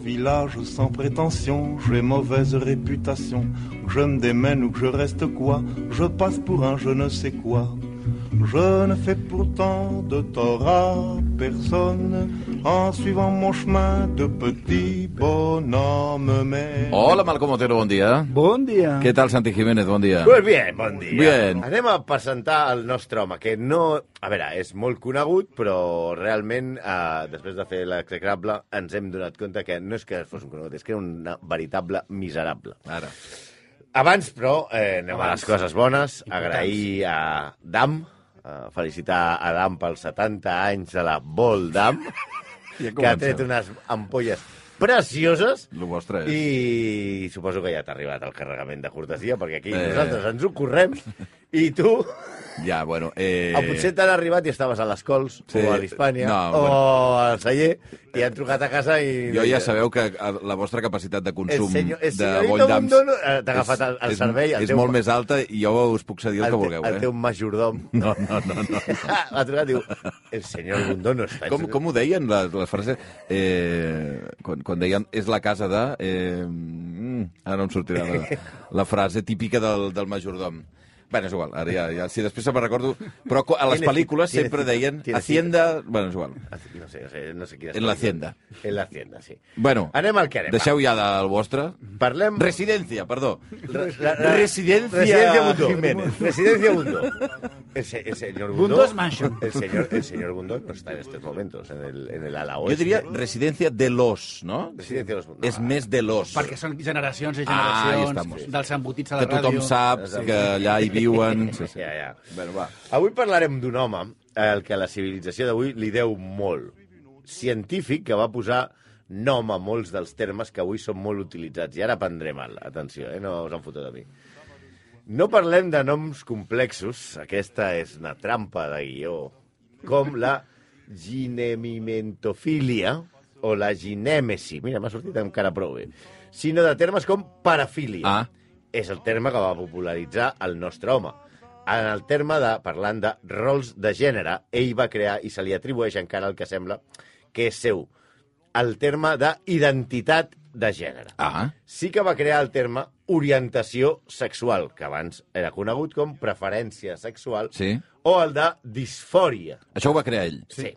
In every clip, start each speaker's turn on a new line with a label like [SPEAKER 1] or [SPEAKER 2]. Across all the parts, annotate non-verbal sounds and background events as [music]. [SPEAKER 1] village sans prétention, j'ai mauvaise réputation. Que je me démène ou que je reste quoi, je passe pour un je ne sais quoi. Je ne fais pourtant de tort à personne en suivant mon chemin de petit bonhomme. Mais
[SPEAKER 2] Hola, Malcom Otero, bon dia.
[SPEAKER 3] Bon dia.
[SPEAKER 2] Què tal, Santi Jiménez, bon dia?
[SPEAKER 4] Pues bien, bon dia.
[SPEAKER 2] Bien.
[SPEAKER 4] Anem a presentar el nostre home, que no... A veure, és molt conegut, però realment, eh, després de fer l'execrable, ens hem donat compte que no és que fos un conegut, és que era un veritable miserable.
[SPEAKER 2] Ara.
[SPEAKER 4] Abans, però, eh, anem Abans. a les coses bones. Agrair a Dam, eh, felicitar a Dam pels 70 anys de la Vol Dam, que ha tret unes ampolles precioses.
[SPEAKER 2] Lo vostre és.
[SPEAKER 4] I suposo que ja t'ha arribat el carregament de cortesia, perquè aquí
[SPEAKER 2] Eh.
[SPEAKER 4] eh... nosaltres ens ho correm i tu...
[SPEAKER 2] Ja, bueno... Eh...
[SPEAKER 4] Eh... Potser t'han arribat i estaves a les Cols,
[SPEAKER 2] Sí.
[SPEAKER 4] sí. o a l'Hispània,
[SPEAKER 2] No,
[SPEAKER 4] no, o al celler, i han trucat a casa i...
[SPEAKER 2] Jo ja sabeu que eh, la vostra capacitat de
[SPEAKER 4] El
[SPEAKER 2] consum
[SPEAKER 4] Eh, senyor, el
[SPEAKER 2] de
[SPEAKER 4] senyorito
[SPEAKER 2] Volldams
[SPEAKER 4] Bondono, eh, t'ha agafat el, el
[SPEAKER 2] és,
[SPEAKER 4] cervell. El
[SPEAKER 2] és molt més alta i jo us puc cedir el, que
[SPEAKER 4] te-
[SPEAKER 2] vulgueu,
[SPEAKER 4] El
[SPEAKER 2] eh?
[SPEAKER 4] teu majordom.
[SPEAKER 2] [laughs] No, no, no.
[SPEAKER 4] [laughs]
[SPEAKER 2] no.
[SPEAKER 4] L'ha trucat i diu, el senyor Bondono està...
[SPEAKER 2] Com, com ho deien les, les frases? Eh, quan, quan deien és la casa de... Eh, mm, ara no em sortirà la, la frase típica del, del majordom. Bueno, és igual, ara ja, ja si després se me'n recordo... Però co- a les
[SPEAKER 4] Tiene-
[SPEAKER 2] pel·lícules
[SPEAKER 4] tiene-
[SPEAKER 2] sempre deien
[SPEAKER 4] tiene-
[SPEAKER 2] Hacienda... Bueno, és igual.
[SPEAKER 4] Ah, No sé, no sé, no sé quina...
[SPEAKER 2] En la hacienda.
[SPEAKER 4] En la hacienda, sí.
[SPEAKER 2] Bueno,
[SPEAKER 4] Anem al que anem.
[SPEAKER 2] deixeu ja del vostre...
[SPEAKER 4] Parlem...
[SPEAKER 2] Residencia, perdó. [laughs]
[SPEAKER 4] La- la-
[SPEAKER 2] Residencia
[SPEAKER 4] Residencia Bundó.
[SPEAKER 2] Jiménez.
[SPEAKER 4] Residencia Bundó. El, se- el señor Bundó.
[SPEAKER 3] Bundó es mansion.
[SPEAKER 4] El señor, el señor Bundó no está en estos momentos en el, en el ala
[SPEAKER 2] Jo
[SPEAKER 4] oeste.
[SPEAKER 2] diria residencia de los, no?
[SPEAKER 4] Residencia de los Bundó.
[SPEAKER 2] És més de los.
[SPEAKER 3] Perquè són generacions i
[SPEAKER 2] Ah, ahí
[SPEAKER 3] generacions
[SPEAKER 2] estamos.
[SPEAKER 3] dels embotits a la
[SPEAKER 2] Que tothom
[SPEAKER 3] ràdio.
[SPEAKER 2] sap que allà hi viuen... Sí, sí.
[SPEAKER 4] Ja, ja.
[SPEAKER 2] Bueno, va.
[SPEAKER 4] Avui parlarem d'un home al que la civilització d'avui li deu molt. Científic que va posar nom a molts dels termes que avui són molt utilitzats. I ara prendré mal, atenció, eh? no us han fotut a mi. No parlem de noms complexos, aquesta és una trampa de guió, com la ginemimentofília o la ginèmesi, mira, m'ha sortit encara prou bé, sinó de termes com parafília
[SPEAKER 2] Ah.
[SPEAKER 4] és el terme que va popularitzar el nostre home. En el terme de, parlant de rols de gènere, ell va crear i se li atribueix encara el que sembla que és seu, el terme d'identitat de gènere.
[SPEAKER 2] Ah,
[SPEAKER 4] Sí que va crear el terme orientació sexual, que abans era conegut com preferència sexual,
[SPEAKER 2] sí.
[SPEAKER 4] o el de disfòria.
[SPEAKER 2] Això ho va crear ell.
[SPEAKER 4] Sí.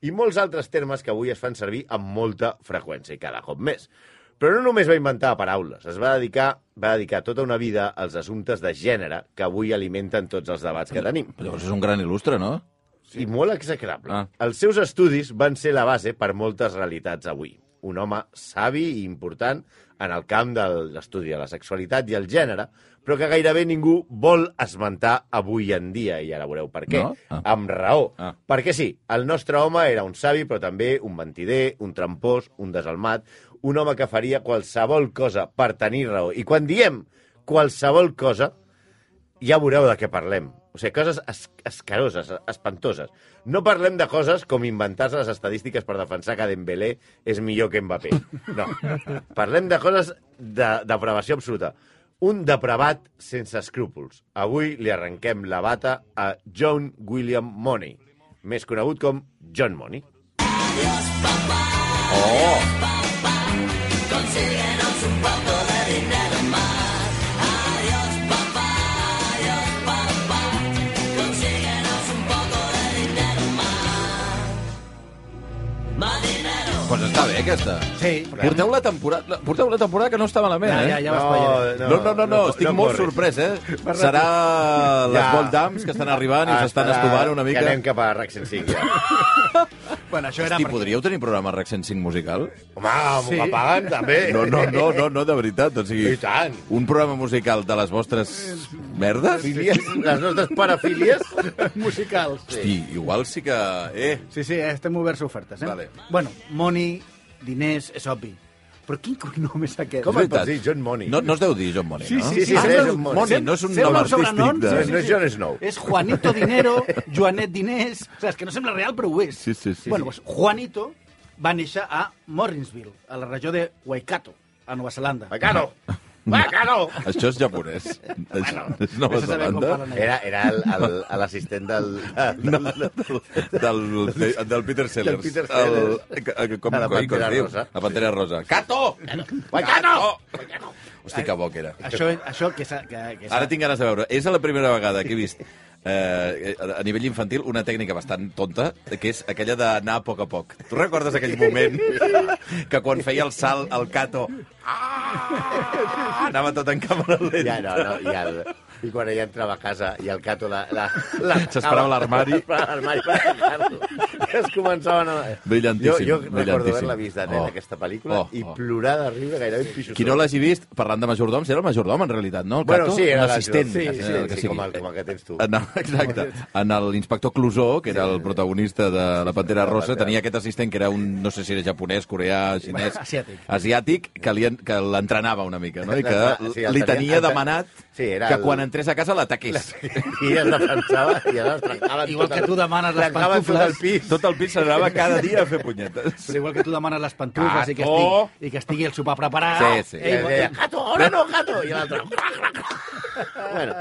[SPEAKER 4] I molts altres termes que avui es fan servir amb molta freqüència i cada cop més. Però no només va inventar paraules, es va dedicar, va dedicar tota una vida als assumptes de gènere que avui alimenten tots els debats que tenim.
[SPEAKER 2] Llavors és un gran il·lustre, no?
[SPEAKER 4] I molt execrable.
[SPEAKER 2] Ah.
[SPEAKER 4] Ah. Els seus estudis van ser la base per moltes realitats avui. Un home savi i important en el camp de l'estudi de la sexualitat i el gènere, però que gairebé ningú vol esmentar avui en dia, i ara veureu per què.
[SPEAKER 2] No? Ah.
[SPEAKER 4] Amb raó.
[SPEAKER 2] Ah.
[SPEAKER 4] Perquè sí, el nostre home era un savi, però també un mentider, un trampós, un desalmat, un home que faria qualsevol cosa per tenir raó. I quan diem qualsevol cosa, ja veureu de què parlem. O sigui, coses es escaroses, espantoses. No parlem de coses com inventar-se les estadístiques per defensar que Dembélé és millor que Mbappé. No. Parlem de coses de depravació absoluta. Un depravat sense escrúpols. Avui li arrenquem la bata a John William Money, més conegut com John Money.
[SPEAKER 2] Doncs està bé, aquesta.
[SPEAKER 3] Sí,
[SPEAKER 2] Porteu la temporada, porteu la temporada que no està malament,
[SPEAKER 3] Ja,
[SPEAKER 2] eh?
[SPEAKER 3] ja, ja vas ballant.
[SPEAKER 2] No, no, no, no, estic molt
[SPEAKER 4] corris.
[SPEAKER 2] sorprès,
[SPEAKER 4] [laughs]
[SPEAKER 2] eh? Serà les
[SPEAKER 4] Ja. Ah,
[SPEAKER 2] Voldams que estan arribant i us estan
[SPEAKER 4] Espera,
[SPEAKER 2] estovant una
[SPEAKER 4] Que
[SPEAKER 2] mica.
[SPEAKER 4] anem cap a RAC 105, ja.
[SPEAKER 3] Bueno, això era
[SPEAKER 2] Hosti,
[SPEAKER 3] perquè...
[SPEAKER 2] podríeu tenir programa RAC 105 musical?
[SPEAKER 4] Home, m'ho
[SPEAKER 3] Sí.
[SPEAKER 4] sí. paguen, també.
[SPEAKER 2] No, no, no, no, no, de veritat. O sigui,
[SPEAKER 4] I tant.
[SPEAKER 2] Un programa musical de les vostres merdes?
[SPEAKER 4] Filies, les nostres parafílies.
[SPEAKER 3] Musicals.
[SPEAKER 2] Hosti, igual sí que... Eh,
[SPEAKER 3] Sí, sí, eh, estem oberts a ofertes, eh?
[SPEAKER 2] Vale.
[SPEAKER 3] Bueno, money, diners, és obvi. Però quin cognom és aquest?
[SPEAKER 4] Com
[SPEAKER 2] és
[SPEAKER 4] et pots
[SPEAKER 2] veritat.
[SPEAKER 4] dir John Money?
[SPEAKER 2] No, no es deu dir John Money, no?
[SPEAKER 4] sí, sí,
[SPEAKER 3] sembla
[SPEAKER 4] és
[SPEAKER 3] un-
[SPEAKER 4] Money.
[SPEAKER 2] Money, no és un
[SPEAKER 3] sembla
[SPEAKER 2] nom
[SPEAKER 3] un sobrenom,
[SPEAKER 2] artístic. De...
[SPEAKER 4] sí, sí. No és Jon Snow.
[SPEAKER 3] És Juanito Dinero,
[SPEAKER 2] [laughs]
[SPEAKER 3] Joanet Diners... O sigui, és que no sembla real, però ho és.
[SPEAKER 2] Sí, sí, sí.
[SPEAKER 3] Bueno, pues Juanito va néixer a Morrinsville, a la regió de Waikato, a Nova Zelanda.
[SPEAKER 4] Encara no. Va, que no!
[SPEAKER 2] Això és japonès. Bueno, és Nova
[SPEAKER 3] Vés a saber com
[SPEAKER 2] Zelanda.
[SPEAKER 3] parlen allà.
[SPEAKER 4] Era, era el- el- a l'assistent del, del, del,
[SPEAKER 2] Del, de- del Peter Sellers.
[SPEAKER 4] Peter Sellers.
[SPEAKER 2] El, que- que- com,
[SPEAKER 4] A la
[SPEAKER 2] com- com
[SPEAKER 4] Pantera
[SPEAKER 2] diu?
[SPEAKER 4] Rosa.
[SPEAKER 2] La Pantera Rosa. Cato! Cato! Hosti, que bo que era.
[SPEAKER 3] Això, això que, s'ha- que, que s'ha-
[SPEAKER 2] Ara tinc ganes de veure. És la primera vegada que he vist eh, a a nivell infantil una tècnica bastant tonta, que és aquella d'anar a poc a poc. Tu recordes aquell moment que quan feia el salt el Cato ah, anava tot en càmera
[SPEAKER 4] Ja,
[SPEAKER 2] lenta?
[SPEAKER 4] no, no, i, el, i quan ella entrava a casa i el Cato la... la, la
[SPEAKER 2] [laughs] S'esperava a l'armari.
[SPEAKER 4] S'esperava a l'armari per tancar-lo. Es començaven a...
[SPEAKER 2] Brillantíssim,
[SPEAKER 4] Jo, jo recordo
[SPEAKER 2] brillantíssim.
[SPEAKER 4] haver-la vist de nen,
[SPEAKER 2] Oh.
[SPEAKER 4] oh. aquesta pel·lícula,
[SPEAKER 2] Oh,
[SPEAKER 4] oh, i
[SPEAKER 2] oh.
[SPEAKER 4] plorar de riure gairebé pixos.
[SPEAKER 2] Qui no l'hagi vist, parlant de majordoms, era el majordom, en realitat, no? El
[SPEAKER 4] Bueno,
[SPEAKER 2] Cato?
[SPEAKER 4] sí, era
[SPEAKER 2] un assistent.
[SPEAKER 4] l'assistent,
[SPEAKER 2] eh,
[SPEAKER 4] sí,
[SPEAKER 2] el que
[SPEAKER 4] sí,
[SPEAKER 2] sigui.
[SPEAKER 4] com el- com el que tens tu.
[SPEAKER 2] En el, exacte. En l'inspector Clusó, que era el protagonista de La Pantera Rosa, tenia aquest assistent que era un, no sé si era japonès, coreà, xinès...
[SPEAKER 3] asiàtic.
[SPEAKER 2] Asiàtic, que li en- que l'entrenava una mica, no? I que
[SPEAKER 4] Sí, el
[SPEAKER 2] li
[SPEAKER 4] tenia-
[SPEAKER 2] tenia
[SPEAKER 4] el te-
[SPEAKER 2] demanat
[SPEAKER 4] Sí, era
[SPEAKER 2] que
[SPEAKER 4] el-
[SPEAKER 2] quan entrés a casa l'ataqués.
[SPEAKER 4] I es defensava i es trencaven
[SPEAKER 3] Igual
[SPEAKER 4] tot
[SPEAKER 3] que
[SPEAKER 4] el-
[SPEAKER 3] tu demanes les
[SPEAKER 4] trencaven tot el
[SPEAKER 3] pantufles.
[SPEAKER 4] pis.
[SPEAKER 2] Tot el pis se n'anava cada dia a fer punyetes.
[SPEAKER 3] Però igual que tu demanes les pantufles i que,
[SPEAKER 2] Cato!
[SPEAKER 3] estigui, i que estigui el sopar preparat...
[SPEAKER 2] Sí, sí.
[SPEAKER 4] I
[SPEAKER 3] Eh,
[SPEAKER 4] es
[SPEAKER 3] igual,
[SPEAKER 4] deia, gato, ahora no, gato! I l'altre... bueno,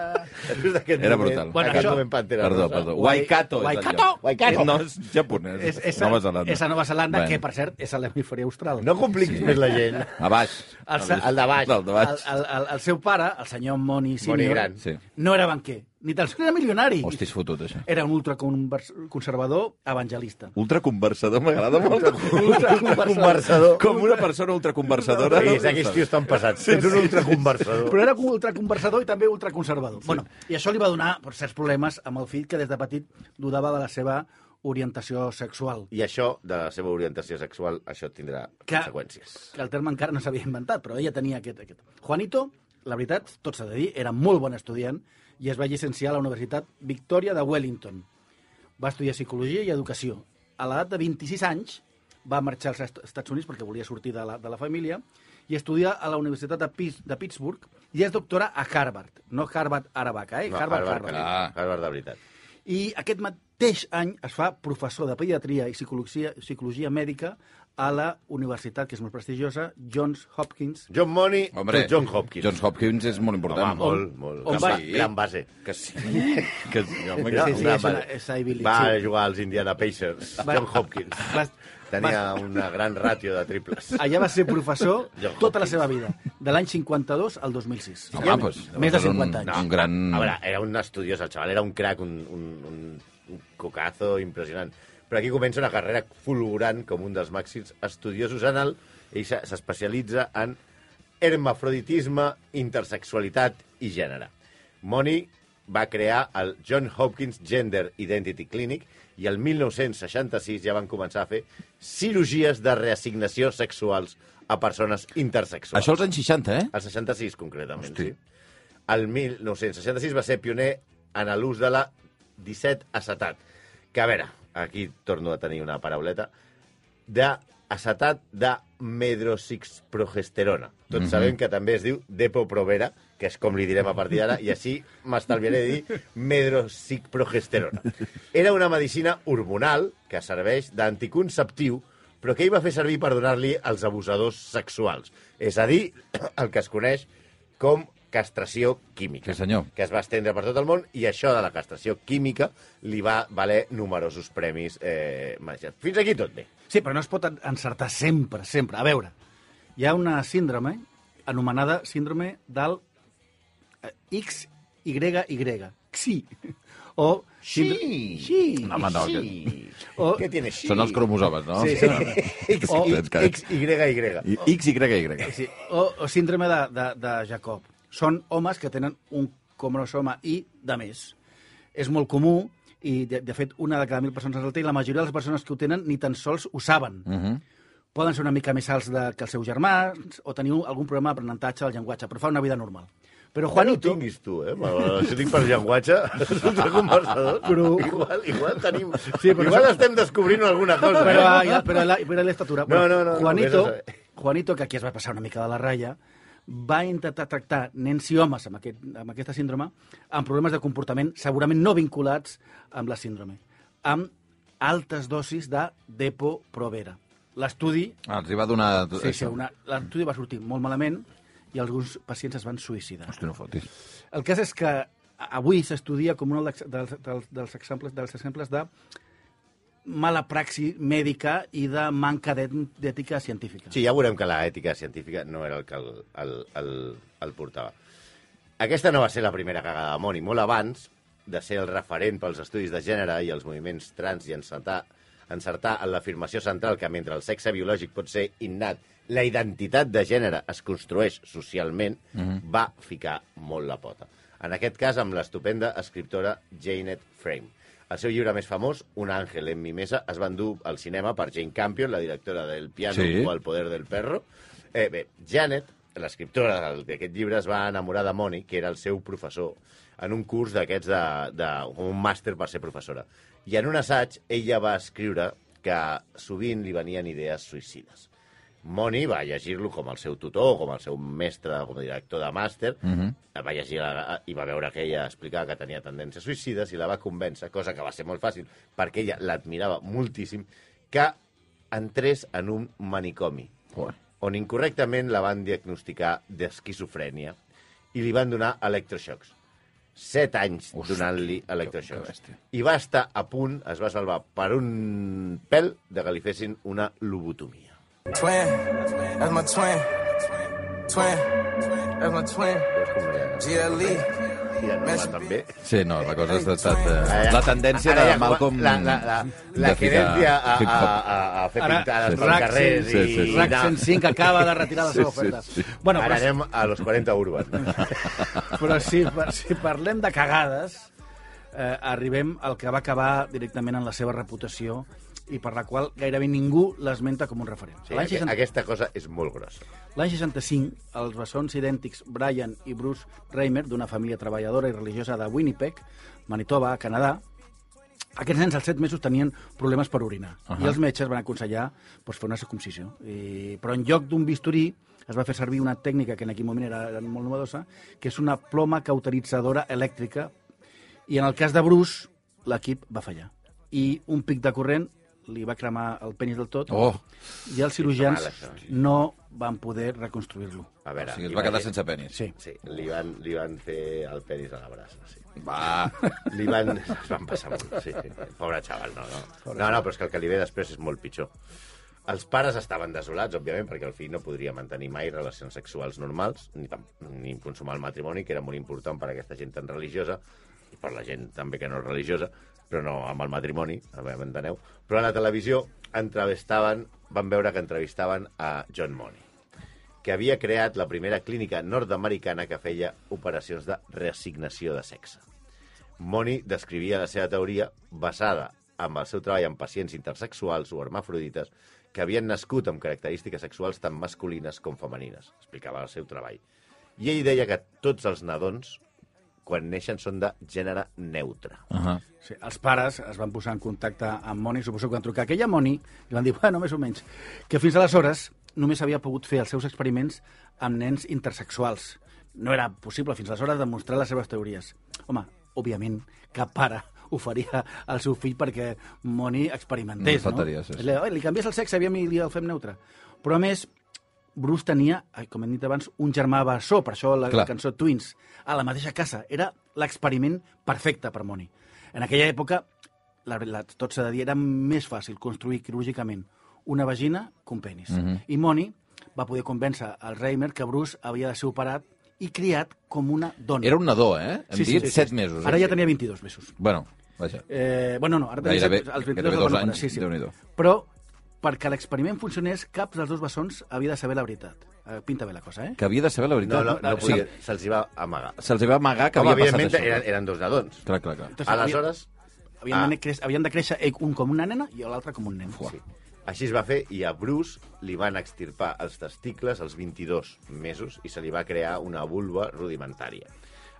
[SPEAKER 4] després d'aquest
[SPEAKER 2] Era
[SPEAKER 4] moment-
[SPEAKER 2] brutal.
[SPEAKER 3] Bueno,
[SPEAKER 4] aquest
[SPEAKER 3] això-
[SPEAKER 4] moment Pantera
[SPEAKER 2] Perdó,
[SPEAKER 4] Rosa.
[SPEAKER 2] perdó. Waikato. és el
[SPEAKER 3] Waikato!
[SPEAKER 2] lloc.
[SPEAKER 4] Waikato.
[SPEAKER 2] No és japonès,
[SPEAKER 3] és, és,
[SPEAKER 2] Nova Zelanda.
[SPEAKER 3] És a Nova Zelanda,
[SPEAKER 2] Bueno.
[SPEAKER 3] que, per cert, és a l'hemisferi austral.
[SPEAKER 4] No compliquis més la
[SPEAKER 2] [laughs]
[SPEAKER 4] gent.
[SPEAKER 2] A baix.
[SPEAKER 3] El sa-
[SPEAKER 4] el de baix.
[SPEAKER 2] El de baix.
[SPEAKER 3] El, el, el, el seu pare, el senyor Moni Senior,
[SPEAKER 4] Gran.
[SPEAKER 2] Sí.
[SPEAKER 3] no era banquer, ni tan sols era milionari.
[SPEAKER 2] Hosti, és fotut, això.
[SPEAKER 3] Era un ultraconservador evangelista.
[SPEAKER 2] Ultraconversador, m'agrada molt.
[SPEAKER 4] Ultraconversador.
[SPEAKER 2] Com una persona ultraconversadora.
[SPEAKER 4] Sí, és aquells tios tan pesats. Ets un ultraconversador.
[SPEAKER 3] Però era un ultraconversador i també ultraconservador. Sí. Bueno, I això li va donar per certs problemes amb el fill que des de petit dudava de la seva orientació sexual.
[SPEAKER 4] I això, de la seva orientació sexual, això tindrà
[SPEAKER 3] Que-
[SPEAKER 4] conseqüències.
[SPEAKER 3] que el terme encara no s'havia inventat, però ella tenia aquest, aquest. Juanito, la veritat, tot s'ha de dir, era molt bon estudiant i es va llicenciar a la Universitat Victòria de Wellington. Va estudiar Psicologia i Educació. A l'edat de 26 anys va marxar als Est- Estats Units perquè volia sortir de la, de la família i estudiar a la Universitat de, Pis, de Pittsburgh i és doctora a Harvard, no Harvard Arabaca, eh?
[SPEAKER 4] No,
[SPEAKER 3] Harvard, Harvard,
[SPEAKER 4] Harvard,
[SPEAKER 3] Harvard.
[SPEAKER 2] Ah.
[SPEAKER 4] Harvard de veritat.
[SPEAKER 3] I aquest mateix any es fa professor de pediatria i psicologia, psicologia mèdica a la universitat, que és molt prestigiosa, Johns Hopkins,
[SPEAKER 4] John Money,
[SPEAKER 2] Hombre,
[SPEAKER 4] John Hopkins.
[SPEAKER 2] John Hopkins és molt important.
[SPEAKER 4] Home, molt, molt.
[SPEAKER 3] on
[SPEAKER 4] gran,
[SPEAKER 3] va-
[SPEAKER 4] base, gran base.
[SPEAKER 2] Que sí. Que sí, home, que
[SPEAKER 4] Era
[SPEAKER 3] Sí,
[SPEAKER 2] sí.
[SPEAKER 3] sí,
[SPEAKER 4] gran
[SPEAKER 3] és una-
[SPEAKER 4] base.
[SPEAKER 3] és Ivy League,
[SPEAKER 4] Va
[SPEAKER 3] sí.
[SPEAKER 4] jugar als Indiana Pacers.
[SPEAKER 3] Va-
[SPEAKER 4] John
[SPEAKER 3] [laughs]
[SPEAKER 4] Hopkins.
[SPEAKER 3] Va-
[SPEAKER 4] Tenia una gran ràtio de triples.
[SPEAKER 3] Allà va ser
[SPEAKER 2] [laughs]
[SPEAKER 3] professor
[SPEAKER 4] John
[SPEAKER 3] tota la
[SPEAKER 4] Hopkins.
[SPEAKER 3] seva vida, de l'any 52 al 2006.
[SPEAKER 2] Home,
[SPEAKER 3] Ja
[SPEAKER 2] doncs,
[SPEAKER 3] més de
[SPEAKER 2] és un-
[SPEAKER 3] 50 anys.
[SPEAKER 2] Un gran...
[SPEAKER 4] A veure, era un estudiós, el xaval, era un crac, un, un, un, un cocazo impressionant. Però aquí comença una carrera fulgurant com un dels màxims estudiosos en el... Ell s'ha- s'especialitza en hermafroditisme, intersexualitat i gènere. Moni va crear el John Hopkins Gender Identity Clinic i el 1966 ja van començar a fer cirurgies de reassignació sexuals a persones intersexuals.
[SPEAKER 2] Això als anys 60, eh?
[SPEAKER 4] El 66, concretament,
[SPEAKER 2] Hosti.
[SPEAKER 4] sí. El 1966 va ser pioner en l'ús de la 17-acetat, que, a veure, aquí torno a tenir una parauleta, d'acetat de medrosixprogesterona. Tots mm -hmm. sabem que també es diu depoprovera, que és com li direm a partir d'ara, i així m'estalviaré de dir medrosicprogesterona. Era una medicina hormonal que serveix d'anticonceptiu però que ell va fer servir per donar-li als abusadors sexuals. És a dir, [clears throat] el que es coneix com castració química.
[SPEAKER 2] Sí, senyor.
[SPEAKER 4] Que es va estendre per tot el món i això de la castració química li va valer numerosos premis. Eh, majors. Fins aquí tot bé.
[SPEAKER 3] Sí, però no es pot encertar sempre, sempre. A veure, hi ha una síndrome anomenada síndrome del eh, XYY, XI, o...
[SPEAKER 4] Sí.
[SPEAKER 3] Sí.
[SPEAKER 2] Home, no, que...
[SPEAKER 4] Sí.
[SPEAKER 3] O-
[SPEAKER 4] Què tiene? Sí.
[SPEAKER 2] Són els cromosomes, no?
[SPEAKER 3] Sí, sí.
[SPEAKER 4] X,
[SPEAKER 2] O-
[SPEAKER 4] I, X, Y, Y.
[SPEAKER 2] I- X, Y, Y.
[SPEAKER 3] Sí, o, o síndrome de, de, de Jacob. Són homes que tenen un cromosoma I de més. És molt comú i, de, de fet, una de cada mil persones el té i la majoria de les persones que ho tenen ni tan sols ho saben. Uh -huh. Poden ser una mica més alts de, que els seus germans o tenir un- algun problema d'aprenentatge del llenguatge, però fa una vida normal. Però
[SPEAKER 4] Quan ho
[SPEAKER 3] Juanito...
[SPEAKER 4] tinguis tu, eh? Si tinc per llenguatge, [laughs] és un conversador. Però... Igual, igual tenim... Sí,
[SPEAKER 3] però-
[SPEAKER 4] igual estem descobrint alguna cosa.
[SPEAKER 3] Però,
[SPEAKER 4] eh?
[SPEAKER 3] ah, ja, però, la, però l'estatura...
[SPEAKER 4] No, no, no, no,
[SPEAKER 3] Juanito,
[SPEAKER 4] vés a saber.
[SPEAKER 3] Juanito, que aquí es va passar una mica de la ratlla, va intentar tractar nens i homes amb, aquest, amb aquesta síndrome amb problemes de comportament segurament no vinculats amb la síndrome, amb altes dosis de Depo Provera. L'estudi
[SPEAKER 2] Ah, els hi va donar...
[SPEAKER 3] sí, sí, una, l'estudi va sortir molt malament i alguns pacients es van suïcidar.
[SPEAKER 2] Hosti, no fotis.
[SPEAKER 3] El cas és que a- avui s'estudia com un dels, dels, dels, dels, exemples, dels exemples de mala praxi mèdica i de manca d'et- d'ètica científica.
[SPEAKER 4] Sí, ja veurem que la ètica científica no era el que el, el, el, el portava. Aquesta no va ser la primera cagada de món, i molt abans de ser el referent pels estudis de gènere i els moviments trans i encertar, encertar en l'afirmació central que mentre el sexe biològic pot ser innat, la identitat de gènere es construeix socialment, mm -hmm. va ficar molt la pota. En aquest cas, amb l'estupenda escriptora Janet Frame. El seu llibre més famós, Un àngel en mi mesa, es va endur al cinema per Jane Campion, la directora del piano
[SPEAKER 2] Sí.
[SPEAKER 4] o el poder del perro. Eh, bé, Janet, l'escriptora del- d'aquest llibre, es va enamorar de Moni, que era el seu professor, en un curs d'aquests de, de com un màster per ser professora. I en un assaig, ella va escriure que sovint li venien idees suïcides. Moni va llegir-lo com el seu tutor, com el seu mestre, com a director de màster, uh
[SPEAKER 2] Mhm.
[SPEAKER 4] -huh. va llegir la, i va veure que ella explicava que tenia tendències suïcides i la va convèncer, cosa que va ser molt fàcil, perquè ella l'admirava moltíssim, que entrés en un manicomi,
[SPEAKER 2] Joder.
[SPEAKER 4] on incorrectament la van diagnosticar d'esquizofrènia i li van donar electroxocs. Set anys
[SPEAKER 2] Hosti,
[SPEAKER 4] donant-li
[SPEAKER 2] que
[SPEAKER 4] electroxocs.
[SPEAKER 2] bèstia.
[SPEAKER 4] I va estar a punt, es va salvar per un pèl de que li fessin una lobotomia.
[SPEAKER 5] Twin, that's my twin. Twin, that's my twin. E.
[SPEAKER 4] Veus com ja,
[SPEAKER 5] GLE.
[SPEAKER 4] ja no va tan bé?
[SPEAKER 2] Sí, no, la cosa ha estat... Eh,
[SPEAKER 4] Ara-
[SPEAKER 2] la tendència
[SPEAKER 4] ara
[SPEAKER 2] de
[SPEAKER 4] ja com-
[SPEAKER 2] Malcolm...
[SPEAKER 4] La, la, la, la
[SPEAKER 2] de ficar
[SPEAKER 4] querència a, a,
[SPEAKER 2] hip-hop.
[SPEAKER 4] a, a fer
[SPEAKER 3] Ara,
[SPEAKER 4] pintades pel
[SPEAKER 3] RAC
[SPEAKER 4] carrer.
[SPEAKER 3] cent-
[SPEAKER 2] sí, sí,
[SPEAKER 4] i,
[SPEAKER 2] sí.
[SPEAKER 3] RAC
[SPEAKER 4] anar-
[SPEAKER 3] 105 acaba de retirar la seva
[SPEAKER 2] Sí, sí,
[SPEAKER 3] oferta.
[SPEAKER 2] sí.
[SPEAKER 3] Bueno,
[SPEAKER 4] Ara
[SPEAKER 3] però,
[SPEAKER 4] anem a los 40
[SPEAKER 3] [laughs]
[SPEAKER 4] Urban.
[SPEAKER 3] però si, per- si parlem de cagades, eh, arribem al que va acabar directament en la seva reputació i per la qual gairebé ningú l'esmenta com un referent.
[SPEAKER 4] Sí,
[SPEAKER 3] L'any
[SPEAKER 4] aqu-
[SPEAKER 3] 60
[SPEAKER 4] aquesta cosa és molt grossa.
[SPEAKER 3] L'any 65, els bessons idèntics Brian i Bruce Reimer, d'una família treballadora i religiosa de Winnipeg, Manitoba, a Canadà, aquests nens als 7 mesos tenien problemes per orinar. Uh -huh. I els metges van aconsellar doncs, fer una circuncisió. I... Però en lloc d'un bisturí es va fer servir una tècnica que en aquell moment era, era molt novedosa, que és una ploma cauteritzadora elèctrica. I en el cas de Bruce, l'equip va fallar. I un pic de corrent li va cremar el penis del tot
[SPEAKER 2] Oh,
[SPEAKER 3] i els cirurgians
[SPEAKER 4] mal, això.
[SPEAKER 3] no van poder reconstruir-lo.
[SPEAKER 4] A
[SPEAKER 2] o
[SPEAKER 4] veure,
[SPEAKER 2] sigui, es va quedar sense penis.
[SPEAKER 3] Sí.
[SPEAKER 4] Sí, li van, li van fer el penis a la brasa, sí.
[SPEAKER 2] Va,
[SPEAKER 4] Li van... Es van passar molt, sí. Pobre xaval, no, no. No, no, però és que el que li ve després és molt pitjor. Els pares estaven desolats, òbviament, perquè el fill no podria mantenir mai relacions sexuals normals, ni, tam, ni consumar el matrimoni, que era molt important per a aquesta gent tan religiosa, i per la gent també que no és religiosa, però no amb el matrimoni, a veure, m'enteneu. Però a la televisió entrevistaven, van veure que entrevistaven a John Money que havia creat la primera clínica nord-americana que feia operacions de reassignació de sexe. Moni descrivia la seva teoria basada amb el seu treball amb pacients intersexuals o hermafrodites que havien nascut amb característiques sexuals tant masculines com femenines. Explicava el seu treball. I ell deia que tots els nadons, quan neixen, són de gènere neutre.
[SPEAKER 2] uh -huh.
[SPEAKER 3] Sí, els pares es van posar en contacte amb Moni, suposo que van trucar a aquella Moni i van dir, bueno, més o menys, que fins aleshores només havia pogut fer els seus experiments amb nens intersexuals. No era possible fins aleshores demostrar les seves teories. Home, òbviament, cap pare [laughs] ho faria al seu fill perquè Moni experimentés,
[SPEAKER 2] No,
[SPEAKER 3] no?
[SPEAKER 2] faltaria, sí, sí.
[SPEAKER 3] Li, li canvies el sexe, aviam, i li el fem neutre. Però, a més, Bruce tenia, ai, com hem dit abans, un germà bessó, per això la
[SPEAKER 2] Clar.
[SPEAKER 3] Clar. cançó Twins, a la mateixa casa. Era l'experiment perfecte per Moni. En aquella època, la, la, tot s'ha de dir, era més fàcil construir quirúrgicament una vagina que un penis. Mm
[SPEAKER 2] Mhm.
[SPEAKER 3] -hmm. I Moni va poder convèncer al Reimer que Bruce havia de ser operat i criat com una dona.
[SPEAKER 2] Era un nadó, eh? Hem sí, dit sí, set mesos.
[SPEAKER 3] Ara
[SPEAKER 2] eh?
[SPEAKER 3] ja tenia 22 mesos.
[SPEAKER 2] Bueno, vaja.
[SPEAKER 3] Eh, bueno, no, ara tenia
[SPEAKER 2] Gairebé,
[SPEAKER 3] set- als
[SPEAKER 2] gairebé
[SPEAKER 3] 22
[SPEAKER 2] dos
[SPEAKER 3] el van
[SPEAKER 2] anys,
[SPEAKER 3] operar, sí, sí.
[SPEAKER 2] Déu-n'hi-do.
[SPEAKER 3] Però perquè l'experiment funcionés, cap dels dos bessons havia de saber la veritat. Eh, pinta bé la cosa, eh?
[SPEAKER 2] Que havia de saber la veritat.
[SPEAKER 4] No, no, no
[SPEAKER 2] o sigui,
[SPEAKER 4] podia, se'ls hi va amagar.
[SPEAKER 2] se'ls va amagar que
[SPEAKER 4] Home,
[SPEAKER 2] havia passat
[SPEAKER 4] evidentment,
[SPEAKER 2] això.
[SPEAKER 4] eren, eren dos nadons.
[SPEAKER 2] Clar, clar, clar.
[SPEAKER 3] Entonces,
[SPEAKER 4] Aleshores,
[SPEAKER 3] Havien,
[SPEAKER 4] Ah.
[SPEAKER 3] havien, de créixer, havien de créixer ell un com una nena i l'altre com un nen.
[SPEAKER 4] Sí. Així es va fer i a Bruce li van extirpar els testicles als 22 mesos i se li va crear una vulva rudimentària.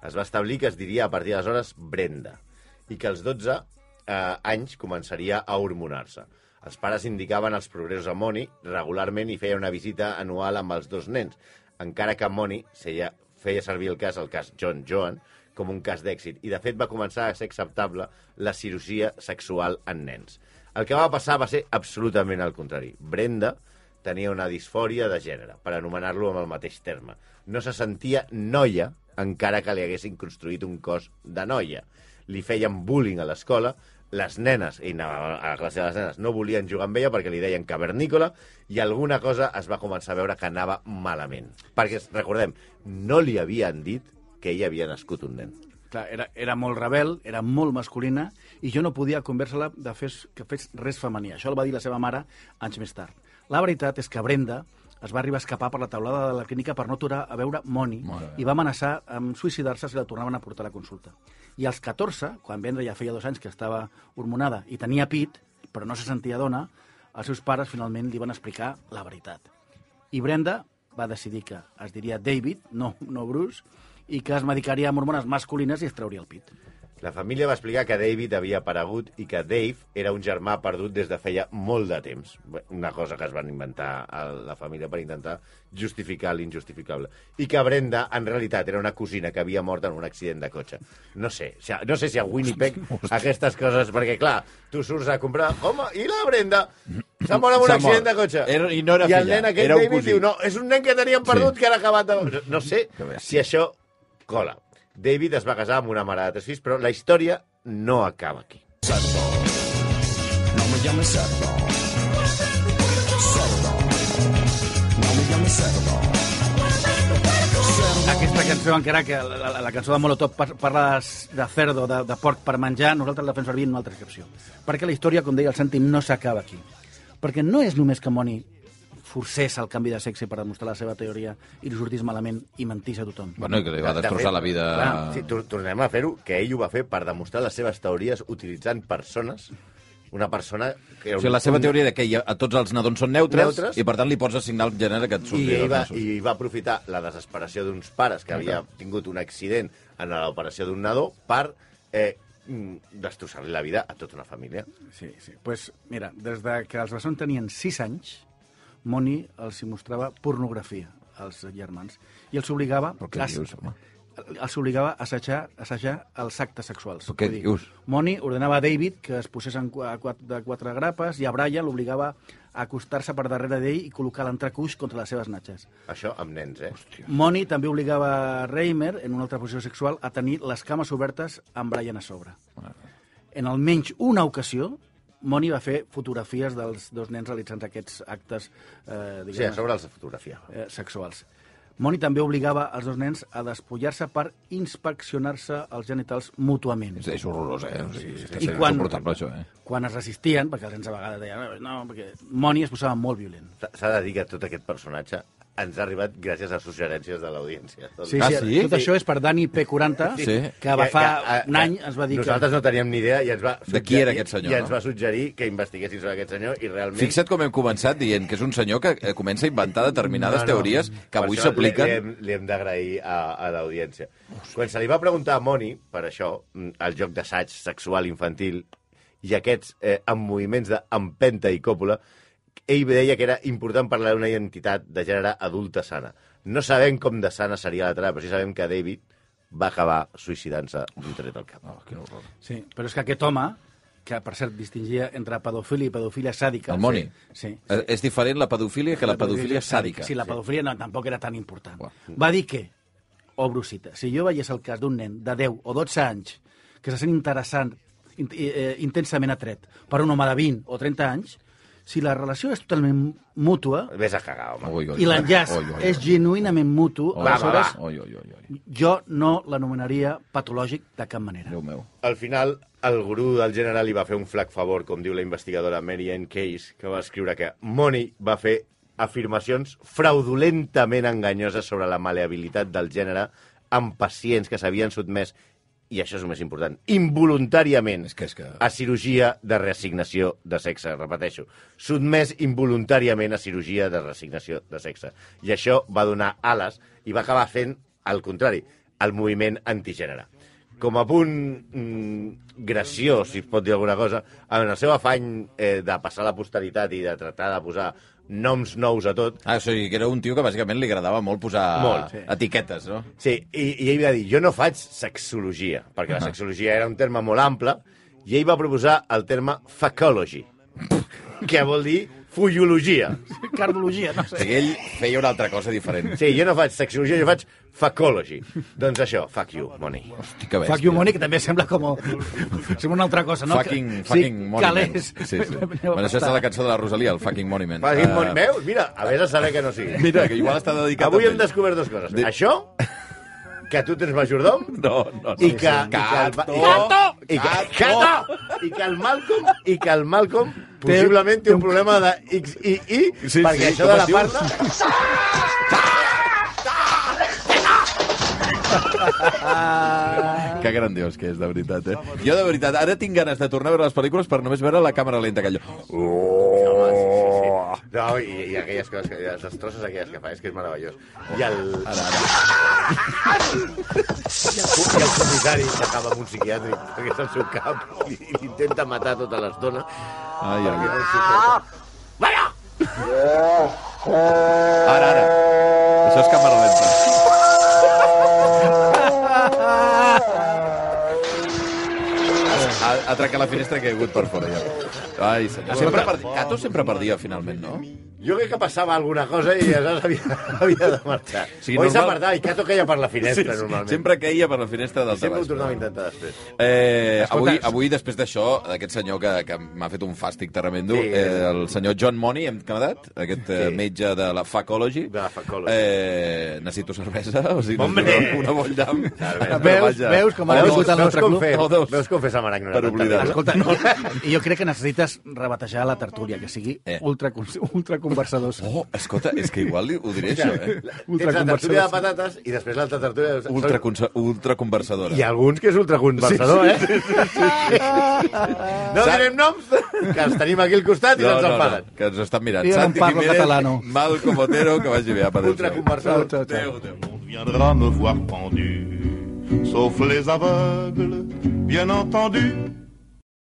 [SPEAKER 4] Es va establir que es diria a partir d'aleshores Brenda i que als 12 eh, anys començaria a hormonar-se. Els pares indicaven els progressos a Moni regularment i feia una visita anual amb els dos nens, encara que Moni seia, feia servir el cas, el cas John Joan, com un cas d'èxit i, de fet, va començar a ser acceptable la cirurgia sexual en nens. El que va passar va ser absolutament el contrari. Brenda tenia una disfòria de gènere, per anomenar-lo amb el mateix terme. No se sentia noia, encara que li haguessin construït un cos de noia. Li feien bullying a l'escola, les nenes, i anava a la classe de les nenes, no volien jugar amb ella perquè li deien cavernícola, i alguna cosa es va començar a veure que anava malament. Perquè, recordem, no li havien dit que ella havia nascut un nen.
[SPEAKER 3] Clar, era, era molt rebel, era molt masculina, i jo no podia convèncer-la de fes, que fes res femení. Això el va dir la seva mare anys més tard. La veritat és que Brenda es va arribar a escapar per la taulada de la clínica per no aturar a veure Moni i va amenaçar amb suïcidar-se si la tornaven a portar a la consulta. I als 14, quan Brenda ja feia dos anys que estava hormonada i tenia pit, però no se sentia dona, els seus pares finalment li van explicar la veritat. I Brenda va decidir que es diria David, no, no Bruce, i que es medicaria amb hormones masculines i es trauria el pit.
[SPEAKER 4] La família va explicar que David havia aparegut i que Dave era un germà perdut des de feia molt de temps. Bé, Una cosa que es van inventar a la família per intentar justificar l'injustificable. I que Brenda, en realitat, era una cosina que havia mort en un accident de cotxe. No sé, o sigui, no sé si a
[SPEAKER 2] [laughs]
[SPEAKER 4] Winnipeg aquestes coses... Perquè, clar, tu surts a comprar... Home, i la
[SPEAKER 2] [clears throat]
[SPEAKER 4] Brenda? S'ha mort en un
[SPEAKER 2] S'ha
[SPEAKER 4] accident de
[SPEAKER 2] mort.
[SPEAKER 4] cotxe.
[SPEAKER 2] Era- i no era
[SPEAKER 4] I el
[SPEAKER 2] filla,
[SPEAKER 4] nen aquest,
[SPEAKER 2] era un
[SPEAKER 4] David,
[SPEAKER 2] cosí.
[SPEAKER 4] diu... No, és un nen que teníem perdut
[SPEAKER 2] Sí.
[SPEAKER 4] que ara acabat de... No sé
[SPEAKER 2] Que bé.
[SPEAKER 4] si això cola. David es va casar amb una mare de tres fills, però la història no acaba aquí.
[SPEAKER 5] No me llames cerdo. Cerdo. No me llames cerdo.
[SPEAKER 3] Aquesta cançó, encara que la, la, la cançó de Molotov par- parla de, de cerdo, de, de porc per menjar, nosaltres la fem servir en una altra excepció. Perquè la història, com deia el Santi, no s'acaba aquí. Perquè no és només que Moni forcés el canvi de sexe per demostrar la seva teoria i li sortís malament i mentís a tothom.
[SPEAKER 2] Bueno, i que li va
[SPEAKER 4] De- de
[SPEAKER 2] destrossar
[SPEAKER 4] fet,
[SPEAKER 2] la vida...
[SPEAKER 4] Clar, sí, tor- tornem a fer-ho, que ell ho va fer per demostrar les seves teories utilitzant persones. Una persona... Que era
[SPEAKER 2] O sigui, la seva teoria era que hi ha- a tots els nadons són neutres,
[SPEAKER 4] Neutres.
[SPEAKER 2] i per tant li pots assignar el gènere que et
[SPEAKER 4] I,
[SPEAKER 2] surti.
[SPEAKER 4] ell va,
[SPEAKER 2] I,
[SPEAKER 4] I va aprofitar la desesperació d'uns pares que havia tingut un accident en l'operació d'un nadó per eh, mm, destrossar-li la vida a tota una família.
[SPEAKER 3] Sí, sí. Pues, mira, des de que els bessons tenien 6 anys, Moni els hi mostrava pornografia als germans i els obligava...
[SPEAKER 2] Però què
[SPEAKER 3] a-
[SPEAKER 2] dius, home?
[SPEAKER 3] els obligava a assajar, a assajar els actes sexuals.
[SPEAKER 2] Però què
[SPEAKER 3] Vull dir,
[SPEAKER 2] dius?
[SPEAKER 3] Moni ordenava a David que es posés en, qu- a quat- de quatre grapes i a Brian l'obligava a acostar-se per darrere d'ell i col·locar l'entrecuix contra les seves natxes.
[SPEAKER 4] Això amb nens, eh?
[SPEAKER 3] Moni també obligava a Reimer, en una altra posició sexual, a tenir les cames obertes amb Brian a sobre. En almenys una ocasió, Moni va fer fotografies dels dos nens realitzant aquests actes eh,
[SPEAKER 4] O sigui,
[SPEAKER 3] diguem,
[SPEAKER 4] a sobre els fotografiava.
[SPEAKER 3] eh, sexuals. Moni també obligava els dos nens a despullar-se per inspeccionar-se els genitals mútuament.
[SPEAKER 2] És, és horrorós, eh? O sigui, és
[SPEAKER 3] I
[SPEAKER 2] I
[SPEAKER 3] quan-
[SPEAKER 2] quan... insuportable, això, eh?
[SPEAKER 3] Quan es resistien, perquè els nens a vegades deien "Eh, no, perquè Moni es posava molt violent.
[SPEAKER 4] S'ha- S'ha de dir que tot aquest personatge ens ha arribat gràcies a suggerències de l'audiència.
[SPEAKER 3] Sí,
[SPEAKER 2] Ah,
[SPEAKER 3] sí,
[SPEAKER 2] sí?
[SPEAKER 3] Tot això és per Dani P40,
[SPEAKER 2] Sí.
[SPEAKER 3] que va fa
[SPEAKER 4] que, eh,
[SPEAKER 3] un any ens va dir
[SPEAKER 4] Nosaltres
[SPEAKER 3] que...
[SPEAKER 4] no teníem ni idea i ens va...
[SPEAKER 2] De qui
[SPEAKER 4] suggerir-
[SPEAKER 2] era aquest senyor,
[SPEAKER 4] I ens
[SPEAKER 2] no?
[SPEAKER 4] va suggerir que investiguessin sobre aquest senyor i realment...
[SPEAKER 2] Fixa't com hem començat dient que és un senyor que eh, comença a inventar determinades teories que avui
[SPEAKER 4] Per això Li, li,
[SPEAKER 3] eh,
[SPEAKER 2] s'apliquen...
[SPEAKER 4] hem- li hem d'agrair a, a l'audiència. Quan se li va preguntar a Moni, per això, mm, el joc d'assaig sexual infantil i aquests eh, amb moviments d'empenta i còpula, ell deia que era important parlar d'una identitat de gènere adulta sana. No sabem com de sana seria la trama, però sí sabem que David va acabar suïcidant-se d'un tret al cap.
[SPEAKER 2] Oh, quin horror.
[SPEAKER 3] Sí, però és que aquest home, que per cert distingia entre pedofilia i pedofilia sàdica...
[SPEAKER 2] El Moni.
[SPEAKER 3] Sí. sí.
[SPEAKER 2] Eh, És diferent la pedofília que la pedofilia sàdica.
[SPEAKER 3] Sí, la pedofilia no, tampoc era tan important.
[SPEAKER 2] Uah.
[SPEAKER 3] Va dir que, obro cita, si jo veiés el cas d'un nen de 10 o 12 anys que se sent interessant, in, eh, intensament atret per un home de 20 o 30 anys, si la relació és totalment mútua
[SPEAKER 4] Ves a cagar, home.
[SPEAKER 2] Ui, ui,
[SPEAKER 3] i l'enllaç
[SPEAKER 2] ui, ui, ui.
[SPEAKER 3] és genuïnament mutu,
[SPEAKER 2] Ui,
[SPEAKER 4] Va, va,
[SPEAKER 3] aleshores
[SPEAKER 4] va.
[SPEAKER 2] Ui, ui, ui, ui.
[SPEAKER 3] jo no l'anomenaria patològic de cap manera.
[SPEAKER 2] Déu meu.
[SPEAKER 4] Al final, el gurú del general li va fer un flac favor, com diu la investigadora Mary Ann Case, que va escriure que Money va fer afirmacions fraudulentament enganyoses sobre la maleabilitat del gènere amb pacients que s'havien sotmès, i això és el més important, involuntàriament
[SPEAKER 2] És que- és que-
[SPEAKER 4] a cirurgia de reassignació de sexe, repeteixo. Sotmès involuntàriament a cirurgia de reassignació de sexe. I això va donar ales i va acabar fent el contrari, el moviment antigènere. Com a punt mm, graciós, si es pot dir alguna cosa, en el seu afany eh, de passar la posteritat i de tratar de posar noms nous a tot,
[SPEAKER 2] Ah, o sigui, que era un tio que bàsicament li agradava molt posar
[SPEAKER 4] Molt,
[SPEAKER 3] sí.
[SPEAKER 2] etiquetes, no?
[SPEAKER 4] Sí, i, i ell va dir, jo no faig sexologia, perquè la sexologia era un terme molt ample, i ell va proposar el terme facology, [laughs] que vol dir Fullologia.
[SPEAKER 3] Cardologia, no
[SPEAKER 2] O
[SPEAKER 3] sé.
[SPEAKER 2] sigui, ell feia una altra cosa diferent.
[SPEAKER 4] Sí, jo no faig sexologia, jo faig facology. doncs això, fuck you, money.
[SPEAKER 2] Hosti, que bèstia.
[SPEAKER 3] Fuck you money, que també sembla com...
[SPEAKER 2] [laughs]
[SPEAKER 3] sembla una altra cosa, no?
[SPEAKER 2] Fucking,
[SPEAKER 3] Que-
[SPEAKER 2] fucking
[SPEAKER 3] sí,
[SPEAKER 2] Monument.
[SPEAKER 3] Calés. [laughs]
[SPEAKER 2] Sí, sí. Bueno, això és la cançó de la Rosalia, el Fucking Monument.
[SPEAKER 4] Fucking
[SPEAKER 2] Eh,
[SPEAKER 4] money. Veus? Mira, a vés a saber que no sigui.
[SPEAKER 2] Mira, que igual està dedicat
[SPEAKER 4] Avui
[SPEAKER 2] a
[SPEAKER 4] hem
[SPEAKER 2] ell.
[SPEAKER 4] descobert dues coses.
[SPEAKER 2] De-
[SPEAKER 4] Això, que tu tens majordom,
[SPEAKER 2] No, no.
[SPEAKER 4] i que... i que el-
[SPEAKER 2] Cato!
[SPEAKER 4] i que- i que-
[SPEAKER 2] Cato!
[SPEAKER 4] I que el Malcolm, i que el Malcolm possiblement té un problema de XII,
[SPEAKER 2] Sí, sí,
[SPEAKER 4] perquè això de
[SPEAKER 2] com
[SPEAKER 4] la
[SPEAKER 2] es diu?
[SPEAKER 4] parla...
[SPEAKER 2] Que grandiós que és, de veritat, eh? Jo, de veritat, ara tinc ganes de tornar a veure les pel·lícules per només veure la càmera lenta, que allò...
[SPEAKER 4] Oh. No, i, i aquelles coses, que, les destrosses aquelles que fa, és que és meravellós. I el... Ara, ara. I el, i el comissari s'acaba amb un psiquiàtric, perquè és el seu cap, i l'intenta matar tota l'estona.
[SPEAKER 2] Ai, ai, ai.
[SPEAKER 4] Ah! Vaja!
[SPEAKER 2] Ara, ara. Això és càmera lenta. Ha, ha trencat la finestra que hi ha hagut per fora, ja. Ai, senyor. Sempre per... Cato sempre perdia, finalment, no?
[SPEAKER 4] Jo crec que passava alguna cosa i aleshores havia, [laughs] havia de marxar.
[SPEAKER 2] O
[SPEAKER 4] Sí,
[SPEAKER 2] sigui,
[SPEAKER 4] Oi, normal... s'ha
[SPEAKER 2] normal-
[SPEAKER 4] marxat i Cato queia per la finestra, sí, sí, normalment.
[SPEAKER 2] Sempre caia per la finestra del
[SPEAKER 4] sempre ho
[SPEAKER 2] tabàs.
[SPEAKER 4] tornava a intentar després.
[SPEAKER 2] Eh,
[SPEAKER 4] Escolta,
[SPEAKER 2] avui, avui, després d'això, d'aquest senyor que, que m'ha fet un fàstic tremendo,
[SPEAKER 4] Sí.
[SPEAKER 2] sí. eh, el senyor John Money, hem quedat, aquest sí. eh,
[SPEAKER 4] Sí.
[SPEAKER 2] metge de la Facology,
[SPEAKER 4] De la Facology.
[SPEAKER 2] eh, necessito cervesa, o sigui,
[SPEAKER 4] Hombre!
[SPEAKER 2] necessito una boll d'am.
[SPEAKER 4] Cervesa.
[SPEAKER 2] Però
[SPEAKER 3] Veus-
[SPEAKER 2] vaja.
[SPEAKER 3] veus com ha
[SPEAKER 2] Oh,
[SPEAKER 4] Veus,
[SPEAKER 3] vingut
[SPEAKER 2] Déu,
[SPEAKER 3] al
[SPEAKER 4] veus,
[SPEAKER 3] nostre
[SPEAKER 4] com
[SPEAKER 3] club?
[SPEAKER 4] fer,
[SPEAKER 2] No, dos.
[SPEAKER 4] veus com fer Samarac no
[SPEAKER 2] Per oblidar-ho.
[SPEAKER 3] Escolta, no. jo crec que necessites rebatejar la tertúlia, que sigui
[SPEAKER 2] Eh.
[SPEAKER 3] eh. ultra, ultra conversadors.
[SPEAKER 2] Oh, escolta, és que igual li- ho diré, això, eh?
[SPEAKER 4] Tens la tertúlia de patates i després l'altra tertúlia... de-
[SPEAKER 2] Ultra, ultra conversadora.
[SPEAKER 4] Hi ha alguns que és ultraconversador, sí, sí, eh? Sí, sí, sí. No
[SPEAKER 2] Sa-
[SPEAKER 4] direm noms, que els tenim aquí al costat i no, ens enfaden.
[SPEAKER 2] que ens estan mirant.
[SPEAKER 3] Jo no
[SPEAKER 2] Santi
[SPEAKER 3] parlo
[SPEAKER 2] Jiménez,
[SPEAKER 3] catalano.
[SPEAKER 2] Malcom Otero, que vagi bé, apa, adéu-siau.
[SPEAKER 3] Ciao,
[SPEAKER 4] Ultraconversador.
[SPEAKER 3] ciao, ciao.
[SPEAKER 2] Adéu, adéu.
[SPEAKER 1] On viendra me voir pendu, sauf les aveugles, bien entendu.